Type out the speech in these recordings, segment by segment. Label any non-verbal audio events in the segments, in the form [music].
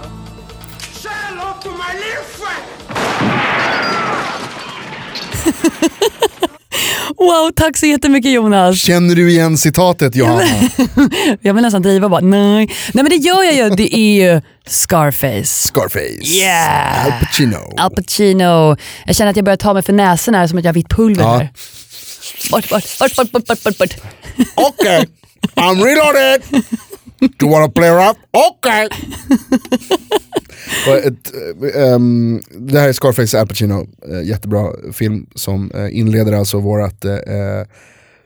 Kjell upp på mig livsväg! Wow, tack så jättemycket Jonas. Känner du igen citatet Johanna? Jag vill nästan driva bara, nej. Nej men det gör jag ju, det är ju [laughs] Scarface. Scarface. Yeah. Al Pacino. Al Pacino. Jag känner att jag börjar ta mig för näsan här som att jag har vitt pulver Ja. här. Bort, bort, bort, bort, bort, bort, bort, bort. Okej, I'm reloaded. Do you wanna play rough? Okej. Och ett, eh, ehm, det här är Scarface Al Pacino, eh, jättebra film som eh, inleder alltså vårat eh, eh,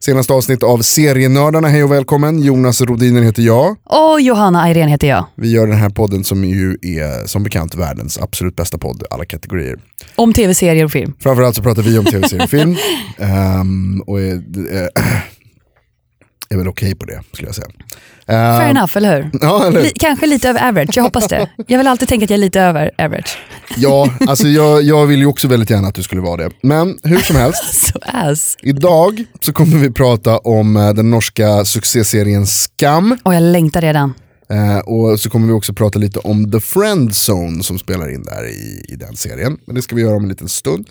senaste avsnitt av Serienördarna. Hej och välkommen, Jonas Rodiner heter jag. Och Johanna Ayrén heter jag. Vi gör den här podden som ju är som bekant världens absolut bästa podd alla kategorier. Om tv-serier och film. Framförallt så pratar vi om tv-serier och [laughs] film. Ehm, och är, eh, är väl okej på det skulle jag säga. Ehm, Fair enough, eller hur? Ja, eller? Li- kanske lite över average, jag hoppas det. Jag vill alltid tänka att jag är lite över average. ja alltså jag, jag vill ju också väldigt gärna att du skulle vara det. Men hur som helst, [laughs] So ass. idag så kommer vi prata om eh, den norska succéserien Skam. Och jag längtar redan. Eh, och så kommer vi också prata lite om The Friend Zone som spelar in där i, i den serien. Men det ska vi göra om en liten stund.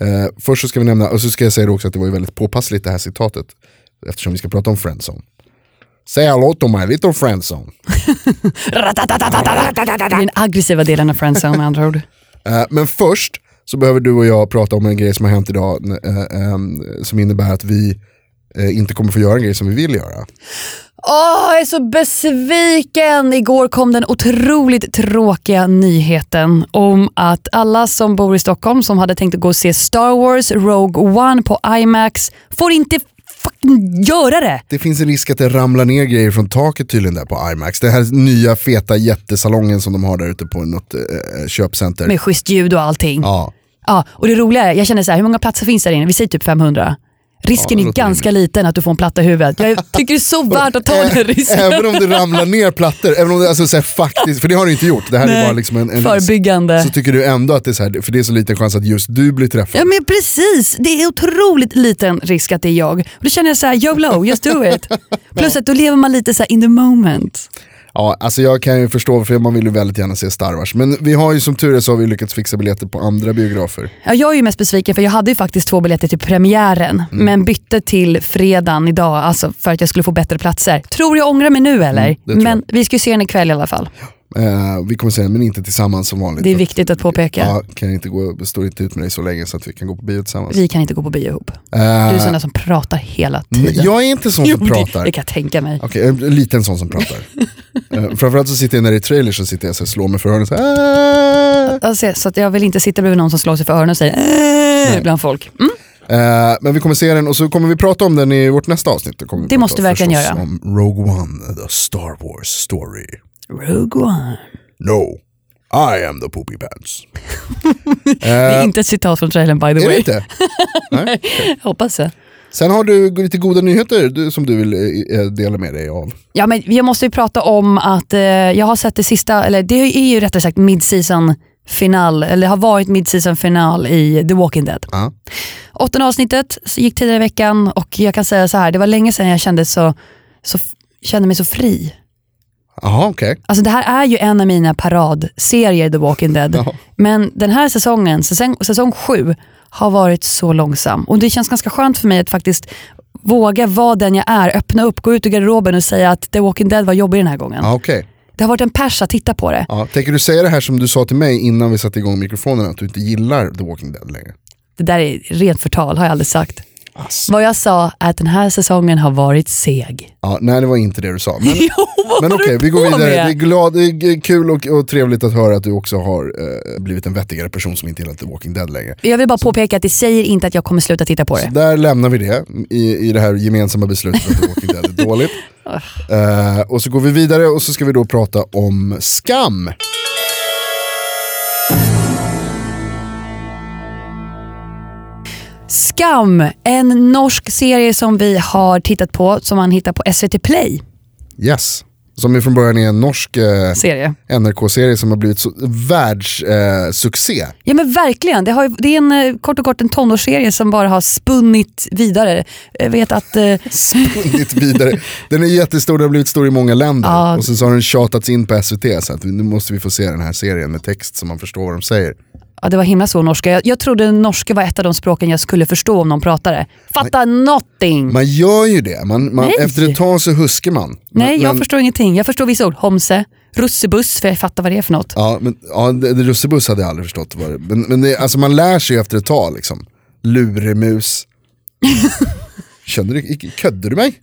Eh, först så ska vi nämna, och så ska jag säga det också att det var ju väldigt påpassligt det här citatet. Eftersom vi ska prata om Friend Zone. Säg hallå to my little friend zone. Det är den aggressiva delen av Friendzone med andra ord. Eh, men först så behöver du och jag prata om en grej som har hänt idag eh, eh, som innebär att vi eh, inte kommer få göra en grej som vi vill göra. Åh, jag är så besviken! Igår kom den otroligt tråkiga nyheten om att alla som bor i Stockholm som hade tänkt att gå och se Star Wars Rogue One på IMAX får inte fucking göra det! Det finns en risk att det ramlar ner grejer från taket tydligen där på IMAX. Den här nya feta jättesalongen som de har där ute på något eh, köpcenter. Med schysst ljud och allting. Ja. Ja, och det roliga är, jag känner så här, hur många platser finns där inne? Vi säger typ 500. Risken Ja, det är låter ganska liten att du får en platta i huvudet. Jag tycker det [laughs] är så värt att ta [laughs] den risken. även om det ramlar ner plattor, även om det alltså, så här, faktiskt, för det har det inte gjort, det här är Nej, bara liksom en, en förebyggande. risk. Så tycker du ändå att det är så här, för det är så liten chans att just du blir träffad. Ja men precis, det är otroligt liten risk att det är jag. Och då känner jag så här, YOLO, just do [laughs] it. Plus att då lever man lite så här in the moment. Ja, alltså jag kan ju förstå, för man vill ju väldigt gärna se Star Wars. Men vi har ju som tur är så har vi lyckats fixa biljetter på andra biografer. Ja, jag är ju mest besviken för jag hade ju faktiskt två biljetter till premiären Mm. men bytte till fredagen idag alltså för att jag skulle få bättre platser. Tror jag ångrar mig nu eller? Mm, tror men vi ska ju se den ikväll i alla fall. Eh, vi kommer säga, men inte tillsammans som vanligt. Det är viktigt att påpeka. Ja, kan inte gå, står inte ut med dig så länge så att vi kan gå på bio tillsammans. Vi kan inte gå på bio ihop. Du är Eh, sån där som pratar hela Nej, tiden. Jag är inte sån Jo, som det, pratar. det kan jag tänka mig. Okej, jag är en liten sån [laughs] som pratar. Eh, framförallt så sitter jag när det är trailers så sitter jag så här, slår mig för öronen så här. "Ah!" Alltså, så att jag vill inte sitta bredvid någon som slår sig för öronen och säger äh, bland folk. Mm. Eh, Men vi kommer se den och så kommer vi prata om den i vårt nästa avsnitt. Då kommer vi Det måste prata vi verkligen förstås göra. Om Rogue One, the Star Wars story. Rogue One. No, I am the poopy pants. Det är inte ett citat från trailern by the Eh, Är det way. inte? Jag hoppas det. Sen har du lite goda nyheter du, som du vill eh, eh, dela med dig av. Ja, men jag måste ju prata om att eh, jag har sett det sista, eller det är ju rättare sagt mid-season final, eller det har varit mid-season final i The Walking Dead. Ja. Åttonde avsnittet så gick tidigare i veckan och jag kan säga så här, det var länge sedan jag kände, så, så, f- kände mig så fri. Jaha, okej. Alltså det här är ju en av mina paradserier The Walking Dead. [laughs] Ja. Men den här säsongen, säsong, säsong sju, har varit så långsam. Och det känns ganska skönt för mig att faktiskt våga vara den jag är, öppna upp, gå ut ur garderoben och säga att The Walking Dead var jobbig den här gången. Ja, okej. Det har varit en pers att titta på det. Ja, tänker du säga det här som du sa till mig innan vi satte igång mikrofonerna, att du inte gillar The Walking Dead längre? Det där är rent förtal, har jag aldrig sagt. Vad jag sa är att den här säsongen har varit seg. Ja, nej det var inte det du sa. Men, [laughs] Jo, vad men håller okej, du vi går på vidare. Det med? är, glad, det är kul och, och trevligt att höra att du också har eh, blivit en vettigare person som inte gillar The Walking Dead längre. Jag vill bara påpeka att det säger inte att jag kommer sluta titta på det. Där lämnar vi det i, i det här gemensamma beslutet att The Walking Dead [laughs] är dåligt. Eh, och så går vi vidare och så ska vi då prata om skam. Skam, en norsk serie som vi har tittat på, som man hittar på SVT Play. Yes. Som ju från början är en norsk eh, Serie. NRK-serie som har blivit så, världssuccé. Eh, succé. [laughs] Ja men verkligen, det, har, ju- det är en, eh, kort och kort en tonårsserie som bara har spunnit vidare. Jag vet att eh, Spunnit vidare. Den är jättestor, den har blivit stor i många länder. Ja. Och sen så har den tjatats in på SVT så att nu måste vi få se den här serien med text så man förstår vad de säger. Ja, det var himla så norska. Jag, jag trodde norska var ett av de språken jag skulle förstå om någon pratade. Fatta någonting! Man gör ju det, man, man, Nej. efter ett tag så huskar man. Nej, Men- jag men- förstår ingenting. Jag förstår vissa ord. Homse, russebuss, för jag fattar vad det är för något. Ja, men, ja det, det russebuss hade jag aldrig förstått vad det Men, men det, alltså man lär sig ju efter ett tag liksom. [laughs] Luremus. Kände du, icke- ködde du mig?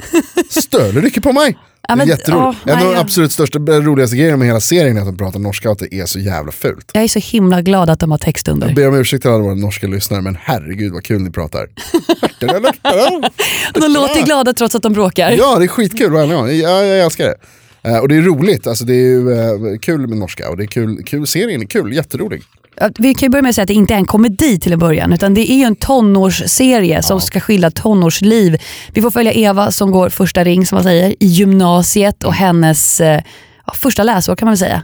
Stölde du icke på mig? Ja, det är men- jätteroligt. ja, en av nej, de jag- absolut största, roligaste grejerna med hela serien är att de pratar norska och att det är så jävla fult. Jag är så himla glad att de har text under. Jag ber om ursäkt till alla våra norska lyssnare men herregud vad kul [laughs] ni pratar. De låter glada trots att de bråkar. Ja det är skitkul varje gång, jag, jag älskar det. Eh, och det är roligt, alltså det är ju eh, kul med norska och det är kul, kul, serien är kul, jätterolig. Ja, Vi kan ju börja med att säga att det inte är en komedi till en början utan det är ju en tonårsserie som ska skilja tonårsliv. Vi får följa Eva som går första ring som man säger i gymnasiet och hennes eh, ja, första läsår kan man väl säga.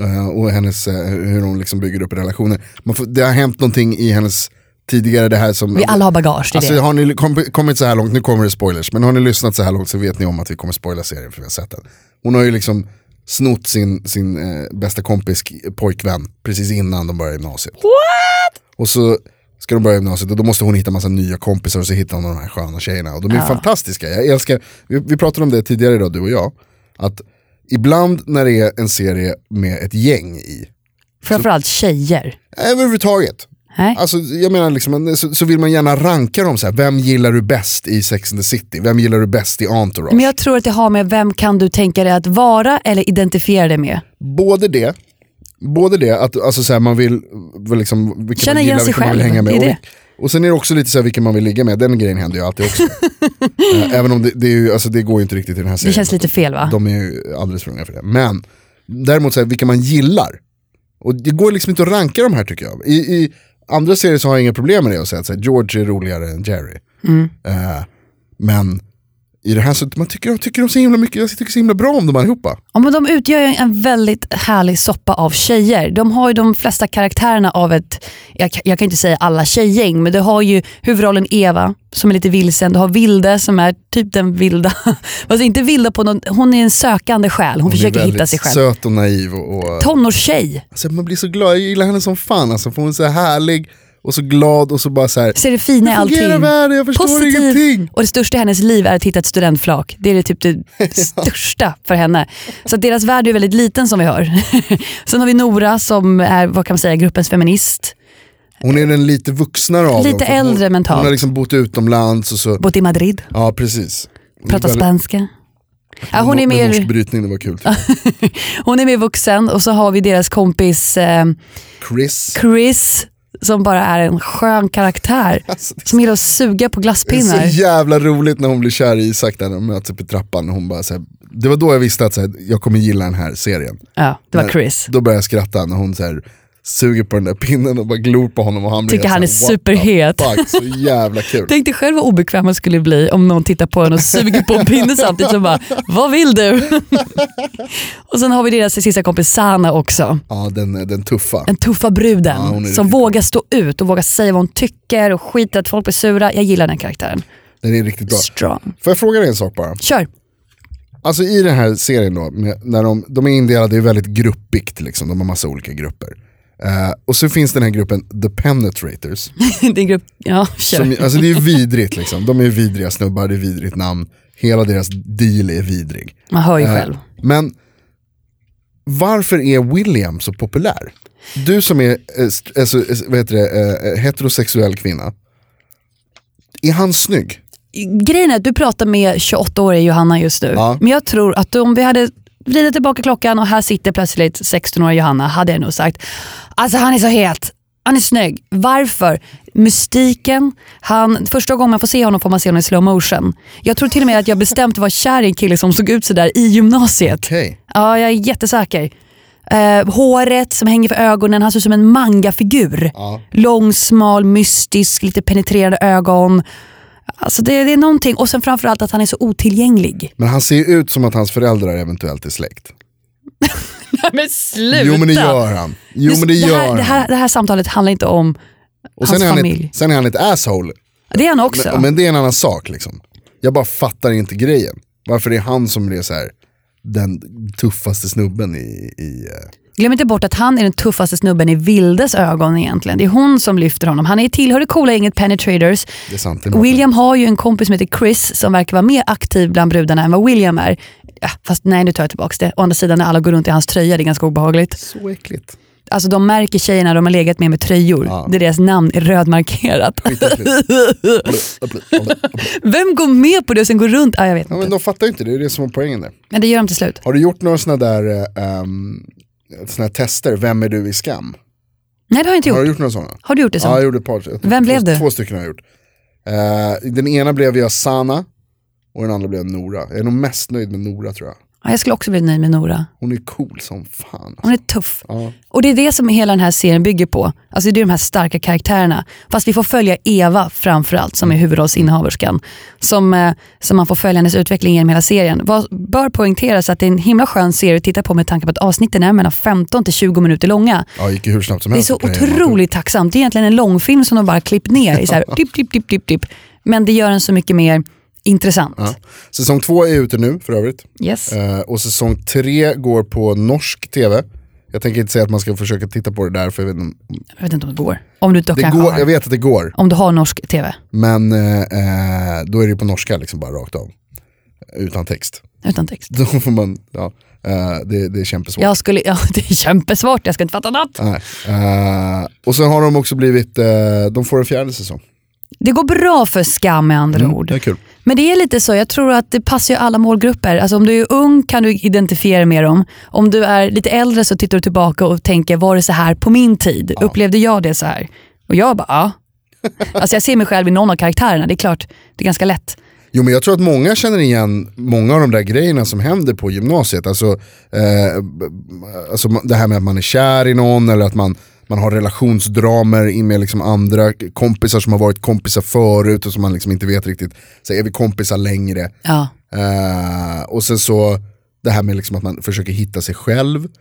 Eh, och hennes, eh, hur hon liksom bygger upp relationer. Man får, det har hänt någonting i hennes tidigare det här som... Vi alla har bagage till Alltså det. har ni kom, kommit så här långt, nu kommer det spoilers, men har ni lyssnat så här långt så vet ni om att vi kommer spoila serien för vi har sett den. Hon har ju liksom snott sin, sin eh, bästa kompis k- pojkvän precis innan de börjar gymnasiet. What? Och så ska de börja gymnasiet och då måste hon hitta massa nya kompisar och så hittar hon de här sköna tjejerna. Och de är fantastiska, jag älskar, vi, vi pratade om det tidigare idag du och jag, att ibland när det är en serie med ett gäng i, Framförallt tjejer. överhuvudtaget, Nej. Alltså, jag menar liksom, så, så vill man gärna ranka dem så här. vem gillar du bäst i Sex and the City? Vem gillar du bäst i Entourage? Men jag tror att det har med vem kan du tänka dig att vara eller identifiera dig med. Både det, både det att alltså, så här, man vill, väl liksom, vilka Känna man igen gillar, sig vilka man vill själv, hänga med. det är Och, och sen är det också lite så här, vilka man vill ligga med, den grejen händer ju [laughs] alltid också. Eh, Även om det, det, är ju, alltså, det går ju inte riktigt i den här serien. Det känns lite fel va? De är ju alldeles för unga för det. Men däremot så här, vilka man gillar. Och det går liksom inte att ranka de här tycker jag. I, i andra serier så har jag inga problem med det och säga att så här, George är roligare än Jerry. Mm. Eh, men i det här så man tycker, jag tycker de så himla mycket, jag tycker så himla bra om dem allihopa. Ja, men de utgör ju en väldigt härlig soppa av tjejer. De har ju de flesta karaktärerna av ett, jag, kan- jag kan inte säga alla tjejgäng, men du har ju huvudrollen Eva som är lite vilsen. Du har Vilde som är typ den vilda. [laughs] Fast inte vilda på någon, hon är en sökande själ. Hon, Hon är försöker väldigt hitta sig själv. söt och naiv. Och, och, Tonårstjej. alltså, man blir så glad, jag gillar henne som fan. Alltså, för hon är så härlig och så glad och så bara så här. Ser det fina i Hur allting. fungerar världen? Jag förstår ingenting. Och det största i hennes liv är att hitta ett studentflak. Det är det typ det [laughs] största för henne. Så att deras värld är väldigt liten som vi hör. [laughs] Sen har vi Nora som är vad kan man säga, gruppens feminist. Hon är den lite vuxnare av Lite dem, för hon, äldre mentalt. Hon har liksom bott utomlands och så. Bott i Madrid, Ja precis. Hon är pratar väldigt- spanska. Ja, hon, är Med norsk mer, Ah. brytning, det var kul. tycker jag. hon är mer vuxen och så har vi deras kompis eh, Chris. Chris som bara är en skön [laughs] karaktär. Som gillar att suga på Det är glasspinnar. så jävla roligt när hon blir kär i Isak där de möts uppe i trappan. Och hon bara, så här, det var då jag visste att så här, jag kommer gilla den här serien. Ja, det var Men Chris. Då började jag skratta när hon så här, suger på den där pinnen och bara glor på honom. Och han blir Tycker helt han är så här, what the superhet. Fuck, så jävla [laughs] kul. Tänk dig själv vad obekväm man skulle bli om någon tittar på en och suger på en pinne samtidigt som bara, vad vill du? [laughs] och sen har vi deras sista kompis Sana också. ja, den, den tuffa. Den tuffa bruden Ja, hon är som riktigt vågar stå ut och vågar säga vad hon tycker och skiter att folk blir sura. Jag gillar den karaktären. Den är riktigt bra. Strong. Får jag fråga dig en sak bara? Kör! Alltså i den här serien då, med, när de, de är indelade i väldigt gruppigt, liksom, de har massa olika grupper. Eh, och så finns den här gruppen The Penetrators. Din grupp, [laughs] ja kör. Som, alltså det är vidrigt liksom. De är vidriga snubbar, det är vidrigt namn. Hela deras deal är vidrig. Man hör ju Eh, själv. Men varför är William så populär? eh, Du som är eh, st- alltså, eh, vad heter det, eh, heterosexuell kvinna. Är han snygg? Grejen är att du pratar med 28-åriga Johanna just nu. Ja. Men jag tror att om vi hade vridit tillbaka klockan och här sitter plötsligt 16-åriga Johanna hade jag nog sagt. Alltså han är så het. Han är snygg. Varför? Mystiken. Han, första gången man får se honom får man se honom i slow motion. Jag tror till och med att jag bestämt var kär i en kille som såg ut sådär i gymnasiet. Okej. Ja, jag är jättesäker. Eh, håret som hänger för ögonen, han ser ut som en mangafigur. Lång, smal, mystisk, lite penetrerande ögon. Alltså det, det är någonting. Och sen framförallt att han är så otillgänglig. Men han ser ju ut som att hans föräldrar eventuellt är släkt. [laughs] men sluta! Jo men det gör han. Jo men det det, här, gör det, han. här, det här samtalet handlar inte om Och hans sen är han, familj. ett, sen är han ett asshole. Det är han också. Men, men det är en annan sak liksom. Jag bara fattar inte grejen. Varför det är han som blir så här den tuffaste snubben i... i eh, Glöm inte bort att han är den tuffaste snubben i Vildes ögon egentligen. Det är hon som lyfter honom. Han är tillhör det coola gänget Penetrators. det är sant, det är något. William har ju en kompis som heter Chris som verkar vara mer aktiv bland brudarna än vad William är. Ja, fast nej, nu tar jag tillbaka det. Å andra sidan när alla går runt i hans tröja, det är ganska obehagligt. Så äckligt. Alltså de märker tjejerna de har legat med med tröjor. Där deras namn är [laughs] rödmarkerat. [laughs] Vem går med på det och sen går runt? Ja, jag vet Ja, men inte. de fattar ju inte, det är det som är poängen där. Men det gör de till slut. Har du gjort några sådana där eh, ehm, såna här tester, vem är du i skam? Nej, det har jag inte Har du gjort. gjort några sådana? Har du gjort det Ja, jag så? gjorde ett par. Vem blev två, du? Två stycken har jag gjort. Eh, den ena blev jag Sana och den andra blev Nora. Jag är nog mest nöjd med Nora tror jag. Ja, jag skulle också bli nöjd med Nora. Hon är cool som fan. alltså. Hon är tuff. Ja. Och det är det som hela den här serien bygger på. Alltså det är de här starka karaktärerna. Fast vi får följa Eva framförallt som är huvudrollsinnehaverskan. Som, eh, som man får följa hennes utveckling genom hela serien. Vad bör poängteras att det är en himla skön serie att titta på med tanke på att avsnitten är mellan 15 till 20 minuter långa. Ja, gick ju hur snabbt som Det är helst. så att planera. otroligt tacksamt. Det är egentligen en långfilm som de bara klippt ner i så här, tipp, tipp, tipp, tipp, tipp. Men det gör den så mycket mer intressant. Säsong två är ute nu för övrigt. Yes. Eh, och säsong tre går på norsk tv. Jag tänker inte säga att man ska försöka titta på det där för jag vet, inte om- Jag vet inte om det går. Om du, inte det kanske går, har, jag vet att det går. om du har norsk tv. Men eh, eh, då är det ju på norska liksom bara rakt av. Utan text. [laughs] Utan text. Då får man, ja, eh, det, det är kämpesvårt. Jag skulle, ja, [laughs] det är kämpesvårt, jag ska inte fatta något. Nej. Eh, och sen har de också blivit, eh, de får en fjärde säsong. Det går bra för skam med andra ord. Det är kul. Men det är lite så, jag tror att det passar ju alla målgrupper. Alltså om du är ung kan du identifiera med dem. Om du är lite äldre så tittar du tillbaka och tänker, var det så här på min tid? Upplevde jag det så här? Och jag bara, ja. Alltså jag ser mig själv i någon av karaktärerna, det är klart, det är ganska lätt. Jo men jag tror att många känner igen många av de där grejerna som händer på gymnasiet. Alltså, eh, b- b- alltså ma- det här med att man är kär i någon eller att man, man har relationsdramer in med liksom andra k- kompisar som har varit kompisar förut och som man liksom inte vet riktigt. Så är vi kompisar längre? Ja. Eh, och sen så det här med liksom att man försöker hitta sig själv. som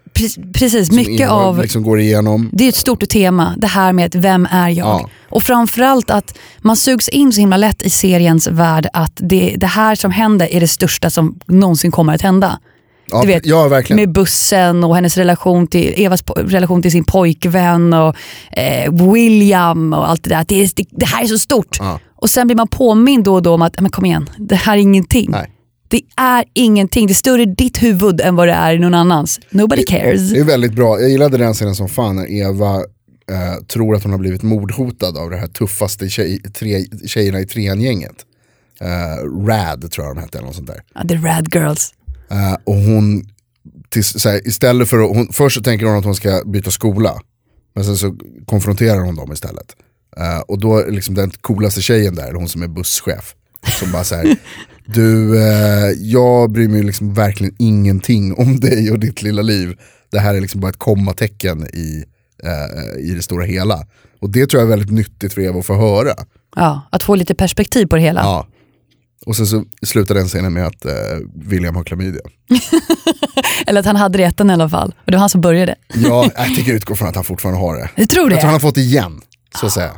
Pre- Precis, mycket ingår- av Liksom går igenom. Det är ett stort tema, det här med att vem är jag? Ja. Och framförallt att man sugs in så himla lätt i seriens värld att det, det här som händer är det största som någonsin kommer att hända. Ja, du vet, ja verkligen. Med bussen och hennes relation till, Evas po- relation till sin pojkvän och eh, William och allt det där. Att Det, är, det, det här är så stort. Och sen blir man påmind då och då om att, men kom igen, det här är ingenting. Nej. Det är ingenting, det är större i ditt huvud än vad det är i någon annans. Nobody cares. Det är väldigt bra, jag gillade den scenen som fan när Eva eh, tror att hon har blivit mordhotad av det här tuffaste tjej, tre, tjejerna i trean-gänget. Eh, Rad tror jag de hette eller något sånt där. Ja, The Rad Girls. Eh, och hon, tills, så här, istället för att, hon, först så tänker hon att hon ska byta skola. Men sen så konfronterar hon dem istället. Eh, och då är liksom den coolaste tjejen där, hon som är busschef. Som bara såhär, du, eh, jag bryr mig liksom verkligen ingenting om dig och ditt lilla liv. Det här är liksom bara ett kommatecken i, eh, i det stora hela. Och det tror jag är väldigt nyttigt för Eva att få höra. Ja, att få lite perspektiv på det hela. Ja. Och sen så slutar den scenen med att eh, William har klamydia. Eller att han hade rätten i alla fall. Och det var han som började. Ja, jag tycker utgå från att han fortfarande har det. Jag tror det. Ah. Jag tror han har fått igen, så att säga.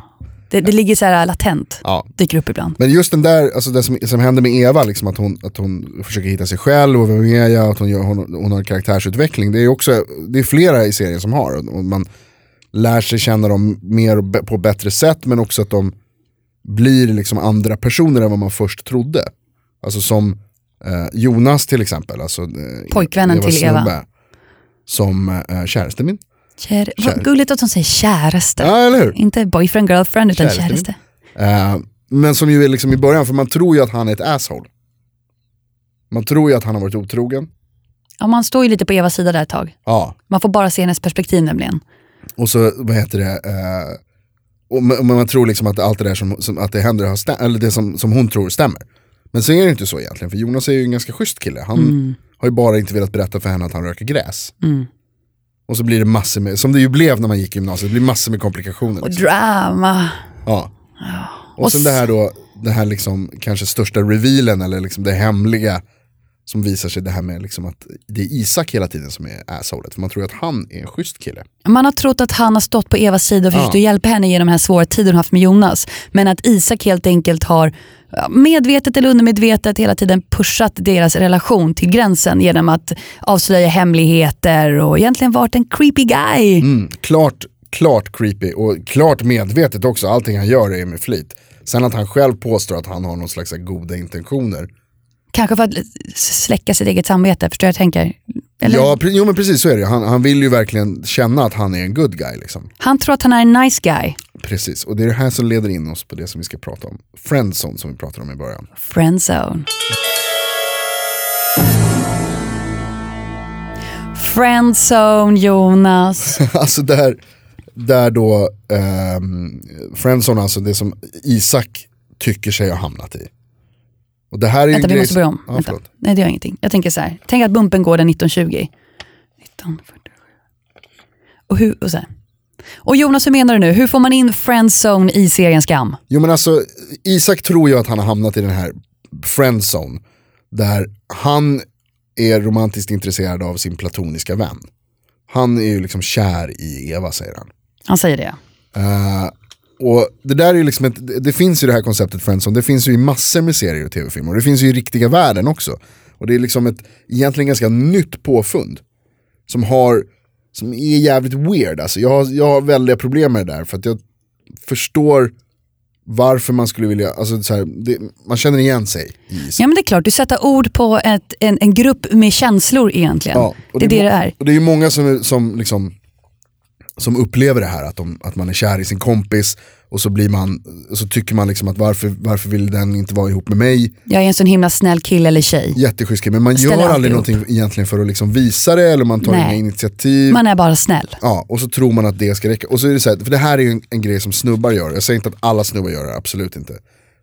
Det, det ligger så här äh, latent. Ja. Dyker upp ibland. Men just den där, alltså det som, som händer med Eva, liksom att, hon, att hon försöker hitta sig själv och vem är jag, att hon, gör, hon, hon har en karaktärsutveckling. Det är, ju också, det är flera i serien som har, och man lär sig känna dem mer och bä- på bättre sätt, men också att de blir liksom andra personer än vad man först trodde. Alltså som eh, Jonas till exempel, alltså, eh, Pojkvännen Evas till Eva. snubbe, Som eh, käreste min. Kär, Kär- Vad gulligt att de säger käraste. Ja, eller hur? Inte boyfriend, girlfriend utan Käraste. käraste. Eh, Men som ju är liksom i början, för man tror ju att han är ett asshole. Man tror ju att han har varit otrogen. Ja, man står ju lite på Evas sida där ett tag. Ja, Man får bara se hennes perspektiv nämligen. och så vad heter det, eh, och man, och man tror liksom att allt det där som, som att det händer, har stä- eller det som, som hon tror stämmer. Men sen är det inte så egentligen, för Jonas är ju en ganska schysst kille. Han har ju bara inte velat berätta för henne att han röker gräs. Och så blir det massor med, som det ju blev när man gick i gymnasiet, det blir massor med komplikationer. liksom. Drama. Ja. Och sen det här då, det här liksom kanske största revealen eller liksom det hemliga som visar sig det här med liksom att det är Isak hela tiden som är assholet. För man tror ju att han är en schysst kille. Man har trott att han har stått på Evas sida och försökt Ja. att hjälpa henne genom den här svåra tiden hon haft med Jonas. Men att Isak helt enkelt har ja, medvetet eller undermedvetet hela tiden pushat deras relation till gränsen genom att avslöja hemligheter och egentligen varit en creepy guy. Klart, klart creepy och klart medvetet också. Allting han gör är med flit. Sen att han själv påstår att han har någon slags goda intentioner. Kanske för att släcka sitt eget samvete, förstår jag vad jag tänker? Eller? Ja, pre- jo men precis så är det ju. han, han vill ju verkligen känna att han är en good guy liksom. Han tror att han är en nice guy. Precis, och det är det här som leder in oss på det som vi ska prata om. Friendzone som vi pratade om i början. Friendzone. Friendzone Jonas. [laughs] Alltså där, där då ehm, Friendzone, alltså det som Isak tycker sig ha hamnat i. Och det här är ju en Vänta, vi grej måste som- börja om. Ja, Vänta. förlåt. Nej, det gör ingenting. Jag tänker så här. Tänk att bumpen går den 1920. 1947. Och, hur, och, så här. och Jonas, hur menar du nu? Hur får man in friendzone i serien Skam? Jo men alltså, Isak tror ju att han har hamnat i den här friendzone. Där han är romantiskt intresserad av sin platoniska vän. Han är ju liksom kär i Eva säger han. Han säger det. Eh, och det där är ju liksom ett, det- det finns ju det här konceptet Friendzone, det finns ju i massor med serier och tv-filmer och det finns ju i riktiga världen också. Och det är liksom ett egentligen ganska nytt påfund som har, som är jävligt weird alltså. Jag har, jag har väldiga problem med det där för att jag förstår varför man skulle vilja, alltså så här, det, man känner igen sig i Ja men det är klart, du sätter ord på ett, en, en grupp med känslor egentligen. Ja, det, är det må- det är. Och det är ju många som, som, liksom, som upplever det här, att, de, att man är kär i sin kompis och så, blir man, så tycker man liksom att varför, varför vill den inte vara ihop med mig? Jag är en sån himla snäll kille eller tjej. Jätteschysst grej, men man Ställer gör alltid aldrig upp. någonting egentligen för att liksom visa det eller man tar Nej. inga initiativ. Man är bara snäll. Ja, och så tror man att det ska räcka. Och så är det så här, för det här är ju en, en grej som snubbar gör. Jag säger inte att alla snubbar gör det, absolut inte.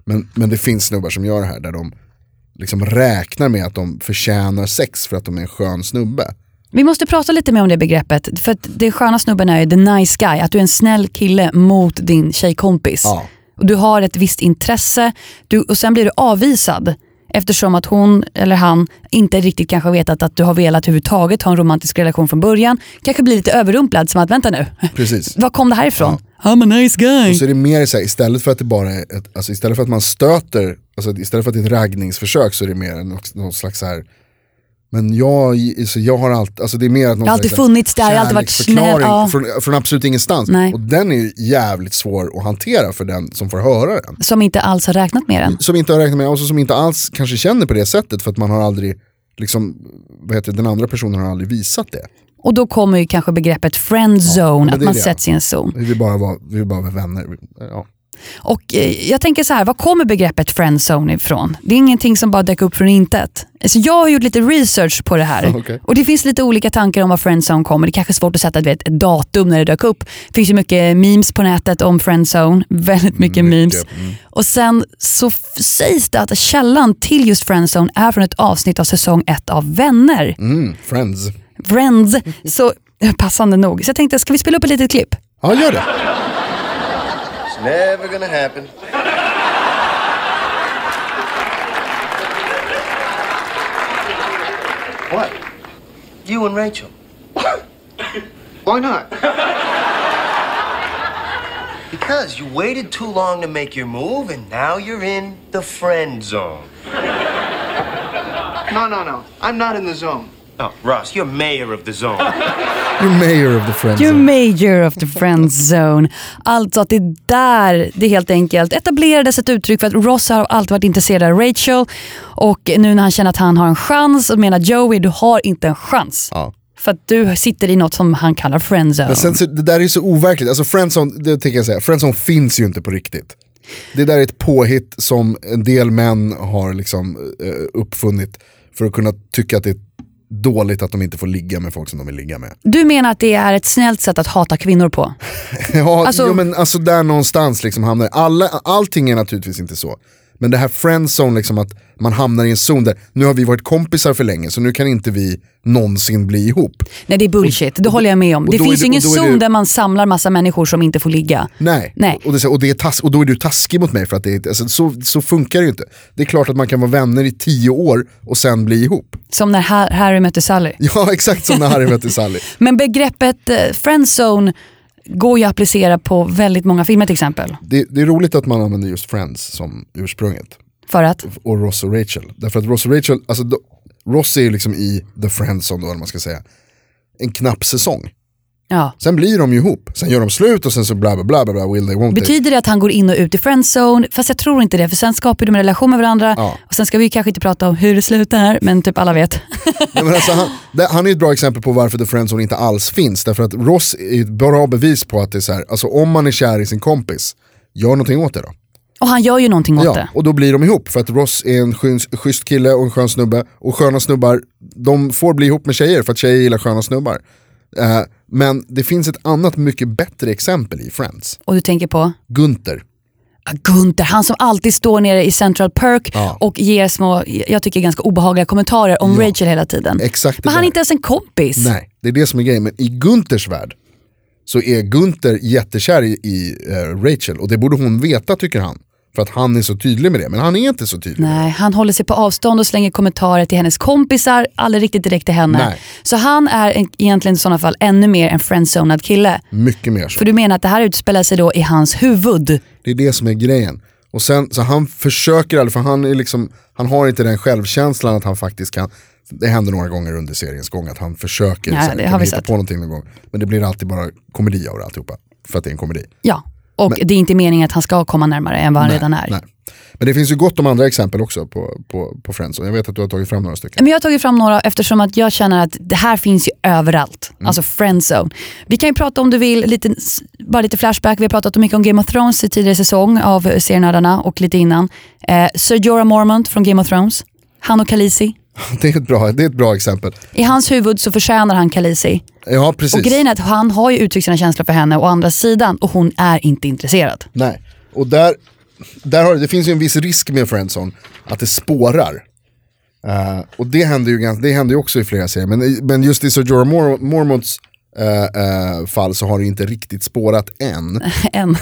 Men, men det finns snubbar som gör det här där de liksom räknar med att de förtjänar sex för att de är en skön snubbe. Vi måste prata lite mer om det begreppet. För att det sköna snubben är ju the nice guy. Att du är en snäll kille mot din tjejkompis. Ja. Och du har ett visst intresse du, och sen blir du avvisad. Eftersom att hon eller han inte riktigt kanske vetat att du har velat överhuvudtaget ha en romantisk relation från början. Kanske blir lite överrumplad som att vänta nu, Precis. var kom det här ifrån? I'm a nice guy. Så är det mer så här, istället för att det bara är ett, alltså istället för att man stöter, alltså istället för att det är ett raggningsförsök så är det mer en, någon slags så här men jag, så jag har alltid, alltså det är mer att någon Jag har alltid slags så här funnits där, jag har alltid varit snäll, kärleksförklaring ja. Från, från absolut ingenstans. Nej. Och den är ju jävligt svår att hantera för den som får höra den. Som inte alls har räknat med den. Som inte har räknat med, och som inte alls kanske känner på det sättet för att man har aldrig, liksom, vad heter det, den andra personen har aldrig visat det. Och då kommer ju kanske begreppet friendzone, det att är man det. sätts i en zon. Vi vill bara vara, vi vill bara vara vänner. Ja. Och eh, jag tänker så här, var kommer begreppet friendzone ifrån? Det är ingenting som bara dök upp från intet. Alltså jag har gjort lite research på det här [laughs] Okej. och det finns lite olika tankar om var friendzone kommer. Det är kanske är svårt att sätta du vet, ett datum när det dök upp. Det finns ju mycket memes på nätet om friendzone, [laughs] väldigt mycket, memes. mm. Och sen så f- sägs det att källan till just friendzone är från ett avsnitt av säsong ett av Vänner. Mm, friends. Friends. Så eh, passande nog. Så jag tänkte, ska vi spela upp ett litet klipp? Ja, gör det. It's never gonna happen. What? You and [coughs] Rachel. Why not? Because you waited too long to make your move, and now you're in the friend zone. No, no, no. I'm not in the zone. Oh, Ross, you're mayor of the zone. You're mayor of the friends. You're major of the friend zone. Alltså att det är där det helt enkelt etablerades ett uttryck för att Ross har alltid varit intresserad av Rachel och nu när han känner att han har en chans och menar Joey, du har inte en chans. Ja. För att du sitter i något som han kallar friend zone. Men sen, så- det där är ju så overkligt, alltså friendzone, det tänker jag säga, friendzone finns ju inte på riktigt. Det där är ett påhitt som en del män har liksom, eh, uppfunnit för att kunna tycka att det är dåligt att de inte får ligga med folk som de vill ligga med. [laughs] Du menar att det är ett snällt sätt att hata kvinnor på? Ja, Alltså- jo, men alltså där någonstans liksom hamnar alla, allting är naturligtvis inte så. Men det här friendzone, liksom att man hamnar i en zon där, nu har vi varit kompisar för länge så nu kan inte vi någonsin bli ihop. Nej det är bullshit, det håller jag med om. och Det då är finns det- ju ingen och då är zon det- där man samlar massa människor som inte får ligga. Nej, Nej. Och, det, är så här, och, det är tas, och då är du taskig mot mig för att det är, alltså, så, så funkar det ju inte. Det är klart att man kan vara vänner i tio år och sen bli ihop. [laughs] Som när Ha- Harry mötte Sally. Ja exakt som när Harry mötte Sally. Men begreppet eh, friendzone går ju att applicera på väldigt många filmer till exempel. Det, det är roligt att man använder just Friends som ursprunget. För att? och Ross och Rachel. Därför att Ross och Rachel, alltså då, Ross är ju liksom i The Friendzone då, eller vad man ska säga. En knapp säsong. Ja. Sen blir de ju ihop, sen gör de slut och sen så bla bla bla bla, bla will they won't they. Betyder det att han går in och ut i friendzone? Fast jag tror inte det, för sen skapar de en relation med varandra. Ja. Och sen ska vi kanske inte prata om hur det slutar, men typ alla vet. [laughs] Nej, men alltså, han, det, han är ju ett bra exempel på varför The Friendzone inte alls finns. Därför att Ross är ju ett bra bevis på att det är så här, alltså om man är kär i sin kompis, gör någonting åt det då. Och han gör ju någonting åt Ja, det. och då blir de ihop för att Ross är en schys- schysst kille och en skön snubbe och sköna snubbar, de får bli ihop med tjejer för att tjejer gillar sköna snubbar. Eh, men det finns ett annat mycket bättre exempel i Friends, Och du tänker på? Gunther. Ja, Gunther, han som alltid står nere i Central Perk Ja. och ger små, jag tycker ganska obehagliga kommentarer om Rachel hela tiden. Exakt det Men han är där. inte ens en kompis. Nej, det är det som är grejen, men i Gunthers värld så är Gunther jättekär i, i eh, Rachel och det borde hon veta tycker han. För att han är så tydlig med det, men han är inte så tydlig. Nej, han håller sig på avstånd och slänger kommentarer till hennes kompisar, aldrig riktigt direkt till henne. Nej. Så han är en, egentligen i sådana fall ännu mer en friendzonad kille. Mycket mer så. För du menar att det här utspelar sig då i hans huvud? Det är det som är grejen. Och sen, så han försöker aldrig, för han, är liksom, han har inte den självkänslan att han faktiskt kan, det händer några gånger under seriens gång att han försöker Ja, så här, det kan har vi hitta sett. på någonting någon gång. Men det blir alltid bara komedi av det alltihopa, för att det är en komedi. Ja. Och det är inte meningen att han ska komma närmare än vad han redan är. Nej. Men det finns ju gott om andra exempel också på, på, på Friends, och jag vet att du har tagit fram några stycken. Men jag har tagit fram några eftersom att jag känner att det här finns ju överallt. Mm. Alltså friendzone. Vi kan ju prata om du vill, lite, bara lite flashback. Vi har pratat mycket om Game of Thrones i tidigare säsong av serienördarna och lite innan. Eh, Sir Jorah Mormont från Game of Thrones. Han och Khaleesi. [laughs] Det är ett bra, det är ett bra exempel. I hans huvud så förtjänar han Khaleesi. Ja, precis. Och grejen är att han har ju uttryckt sina känslor för henne å andra sidan och hon är inte intresserad. [laughs] Nej, och där, där har, det finns ju en viss risk med Friendzone, att det spårar. Eh, och det händer, ju, gans- det händer ju också i flera serier, men, i- men just i Sir Jorah Mor- Mormonts eh, eh, fall så har det inte riktigt spårat [laughs] än. Än.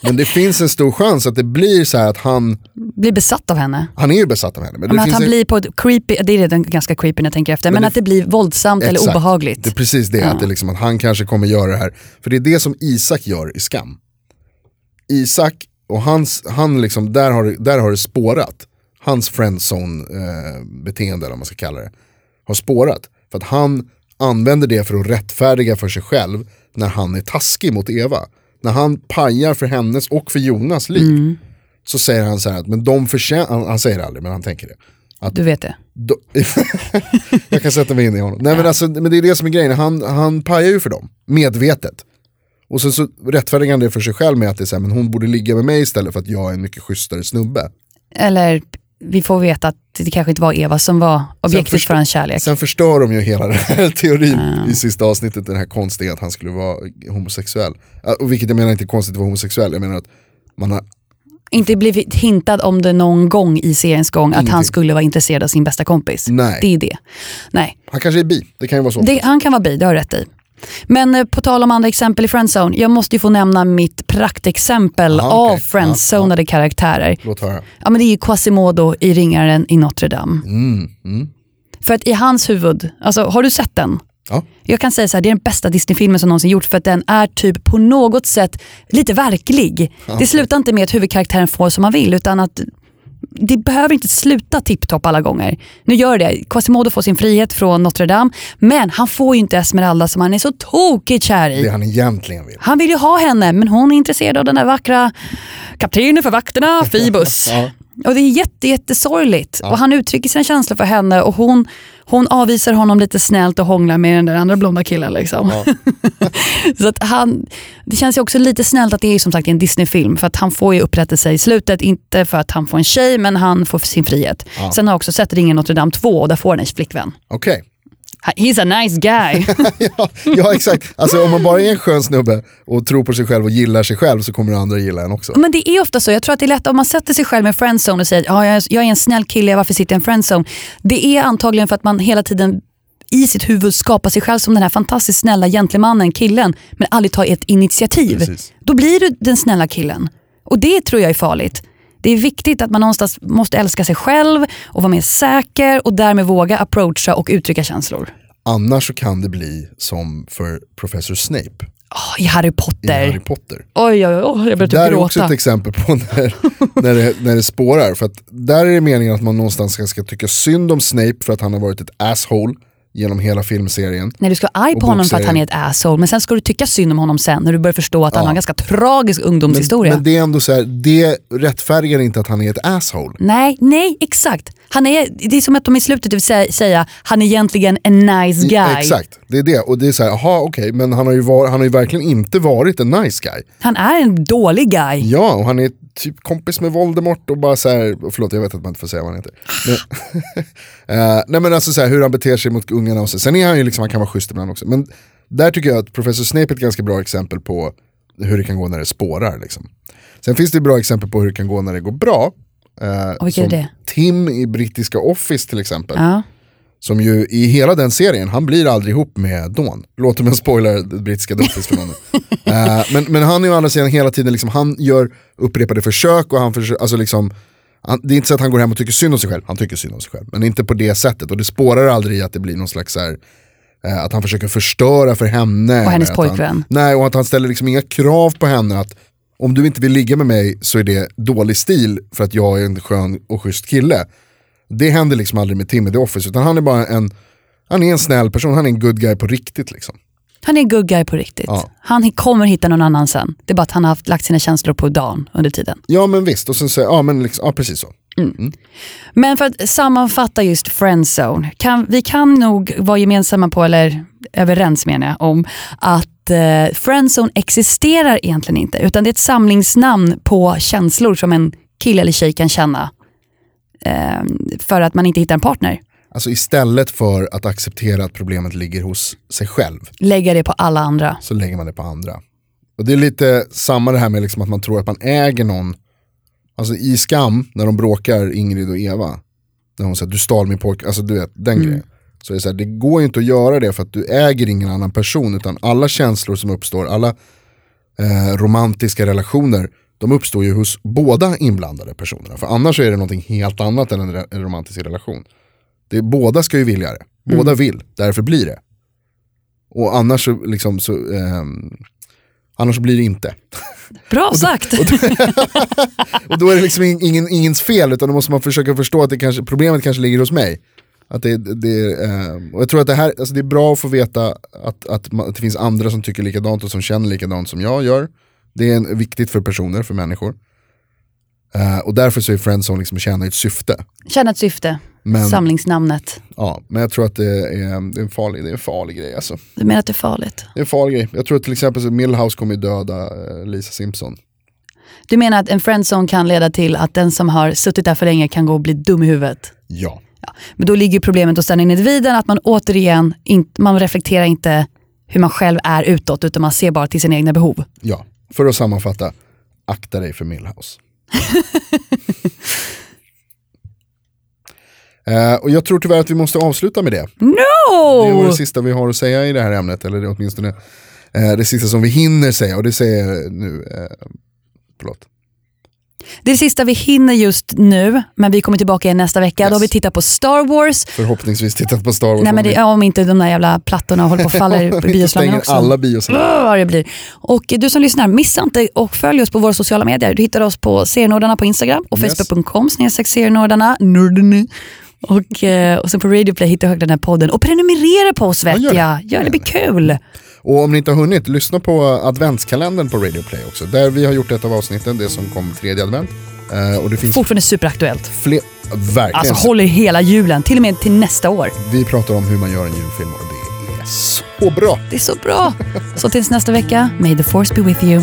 Men det finns en stor chans att det blir så här att han, Blir besatt av henne. han är ju besatt av henne. Men, det Men att finns han en- blir på ett creepy, det är redan ganska creepy när jag tänker efter, men, att det blir våldsamt eller Exakt. obehagligt. Det är precis det, att, det är liksom, att han kanske kommer göra det här. För det är det som Isak gör i Skam. Isak, och hans, han liksom, där, har, det- där har det spårat. Hans friendzone-beteende, eller vad man ska kalla det, har spårat. För att han använder det för att rättfärdiga för sig själv när han är taskig mot Eva. När han pajar för hennes och för Jonas liv. Mm. Så säger han så här, att, men de förtjänar, han, han säger det aldrig men han tänker det. Att Du vet det. då- [laughs] jag kan sätta mig in i honom. Nej, men, alltså, men det är det som är grejen, han, han pajar ju för dem, medvetet. Och sen så rättfärdigar han det för sig själv med att det är så här, men hon borde ligga med mig istället för att jag är en mycket schysstare snubbe. Eller vi får veta att det kanske inte var Eva som var objektet förstå- för hans kärlek. Sen förstör de ju hela den här [laughs] teorin i sista avsnittet, den här konstiga att han skulle vara homosexuell. Äh, Och vilket jag menar inte är konstigt att vara homosexuell, jag menar att man har, Inte blivit hintad om det någon gång i seriens gång att han skulle vara intresserad av sin bästa kompis. Nej. Det är det. Nej. han kanske är bi, det kan ju vara så. Det, han kan vara bi, det har du rätt i. Men eh, på tal om andra exempel i Friendzone, jag måste ju få nämna mitt praktexempel Aha, okej. av friendzonade karaktärer. Låt höra. Ja men det är ju Quasimodo i Ringaren i Notre Dame. För att i hans huvud, alltså har du sett den? Ja. Jag kan säga så här, det är den bästa Disney-filmen som någonsin gjorts för att den är typ på något sätt lite verklig. Det slutar inte med att huvudkaraktären får som man vill utan att det behöver inte sluta tipptopp alla gånger. Nu gör det. Quasimodo får sin frihet från Notre Dame men han får ju inte Esmeralda som han är så tokigt kär i. Det han egentligen vill. Han vill ju ha henne men hon är intresserad av den där vackra kaptenen för vakterna, Phoebus. Och det är jätte, jättesorgligt. Och han uttrycker sina känslor för henne och hon, hon avvisar honom lite snällt och hånglar med den där andra blonda killen. Liksom. [laughs] så att han, det känns ju också lite snällt att det är som sagt en Disney-film för att han får ju upprättelse i slutet. Inte för att han får en tjej men han får sin frihet. Sen har jag också sett Ringen Notre Dame 2 och där får han en flickvän. Okej. He's a nice guy. [laughs] ja, ja exakt, alltså om man bara är en skön snubbe och tror på sig själv och gillar sig själv så kommer andra gilla en också. Men det är ofta så. Jag tror att det är lätt om man sätter sig själv i en friendzone och säger ja, jag, är- jag är en snäll kille, varför sitter jag i en friendzone? Det är antagligen för att man hela tiden i sitt huvud skapar sig själv som den här fantastiskt snälla gentlemannen, killen, men aldrig tar ett initiativ. Precis. Då blir du den snälla killen. Och det tror jag är farligt. Det är viktigt att man någonstans måste älska sig själv och vara mer säker och därmed våga approacha och uttrycka känslor. Annars så kan det bli som för professor Snape Åh, I Harry i Potter. Harry Potter. Oj, oj, oj, oj, jag börjar där typ är också gråta. ett exempel på [laughs] när, när, det, när det spårar. För att där är det meningen att man någonstans ska, ska tycka synd om Snape för att han har varit ett asshole genom hela filmserien. Nej, du ska vara arg Och på honom för att bokserien. han är ett asshole, men sen ska du tycka synd om honom sen när du börjar förstå att han har en ganska tragisk ungdomshistoria. Men det är ändå så här, det rättfärdigar inte att han är ett asshole. Nej, nej, exakt. Han är, det är som att de i slutet vill sä- säga, han är egentligen en nice guy. Exakt, det är det. Och det är så här, aha okej, men han har, ju var, han har ju verkligen inte varit en nice guy. Han är en dålig guy. Ja, och han är typ kompis med Voldemort och bara så här, förlåt jag vet att man inte får säga vad han heter. Men, [laughs] Eh, nej men alltså så här, hur han beter sig mot ungarna och så. Sen är han ju liksom, han kan vara schysst ibland också. Men där tycker jag att Professor Snape är ett ganska bra exempel på hur det kan gå när det spårar. Liksom. Sen finns det ju bra exempel på hur det kan gå när det går bra. Eh, Och vilka är som det? Tim i brittiska Office till exempel. Som ju i hela den serien, han blir aldrig ihop med Dawn. Låt mig spoila det brittiska The Office för någon. [laughs] Eh, men, men han är å andra sidan hela tiden, liksom, han gör upprepade försök och han försöker, alltså liksom, han, det är inte så att han går hem och tycker synd om sig själv, han tycker synd om sig själv. Men inte på det sättet och det spårar aldrig i att det blir någon slags så här, eh, att han försöker förstöra för henne. Och hennes Att han- pojkvän. Nej, och att han ställer liksom inga krav på henne att om du inte vill ligga med mig så är det dålig stil för att jag är en skön och schysst kille. Det händer liksom aldrig med Tim i The Office utan han är bara en, han är en snäll person, han är en good guy på riktigt liksom. Han är en good guy på riktigt. Ja. Han kommer hitta någon annan sen. Det är bara att han har haft, lagt sina känslor på dagen under tiden. Ja men visst, och sen så, ja men liksom, ja precis så. Men för att sammanfatta just friendzone. Kan, vi kan nog vara gemensamma på, eller överens menar jag, om att eh, friendzone existerar egentligen inte. Utan det är ett samlingsnamn på känslor som en kille eller tjej kan känna. Eh, för att man inte hittar en partner. Alltså istället för att acceptera att problemet ligger hos sig själv Lägga det på alla andra. så lägger man det på andra. Och det är lite samma det här med liksom att man tror att man äger någon. Alltså i skam när de bråkar Ingrid och Eva. När hon säger du stal min pojke, alltså du vet den grejen. Så det är så här, det går ju inte att göra det för att du äger ingen annan person utan alla känslor som uppstår, alla eh, romantiska relationer, de uppstår ju hos båda inblandade personerna. För annars så är det någonting helt annat än en, re- en romantisk relation. Det, båda ska ju vilja det, båda vill, därför blir det. Och annars så, liksom, så, ehm, annars så blir det inte. Bra sagt! Och då är det liksom in- ingen, ingens fel utan då måste man försöka förstå att det kanske, problemet kanske ligger hos mig. Att det, det, ehm, och jag tror att det, här, alltså det är bra att få veta att, att, man, att det finns andra som tycker likadant och som känner likadant som jag gör. Det är en, viktigt för personer, för människor. Eh, och därför så är friendzone liksom tjänar ett syfte. [laughs] Känna ett syfte. Men- Samlingsnamnet. Ja, men jag tror att det är, ehm, det är, en, farlig, det är en farlig grej alltså. Du menar att det är farligt? Det är en farlig grej. Jag tror att till exempel så Milhouse kommer ju döda eh, Lisa Simpson. Du menar att en friendzone kan leda till att den som har suttit där för länge kan gå och bli dum i huvudet? Ja. Men då ligger problemet hos den individen att man återigen in, man reflekterar inte hur man själv är utåt utan man ser bara till sina egna behov. Ja, för att sammanfatta, akta dig [laughs] för Milhouse. Eh, och jag tror tyvärr att vi måste avsluta med det. Det var No! det sista vi har att säga i det här ämnet, eller det är åtminstone eh, det sista som vi hinner säga, och det säger jag nu, eh, förlåt. Det är det sista vi hinner just nu men vi kommer tillbaka igen nästa vecka. Då har vi tittat på Star Wars. Förhoppningsvis tittat på Star Wars. Nej, men det, Om ja, om inte de där jävla plattorna håller på och vi- faller [laughs] om i vi inte bioslaggen stänger också. Alla bioslaggar. Brr, vad det blir. Och du som lyssnar, missa inte och följ oss på våra sociala medier. Du hittar oss på serienördarna på Instagram och Yes. facebook.com snedstreck serienördarna. Nördene. Och, eh, och sen på Radioplay hittar du den här podden. Och prenumerera på oss vet gör det. jag. Gör det, det blir kul. Och om ni inte har hunnit, lyssna på eh, adventskalendern på Radio Play också. Där vi har gjort ett av avsnitten, det som kom tredje advent. Eh, och det finns Fortfarande superaktuellt. fler... Verkligen. Alltså håller hela julen, till och med till nästa år. Vi pratar om hur man gör en julfilm och det är så bra. Det är så bra! Så tills nästa vecka, may the force be with you.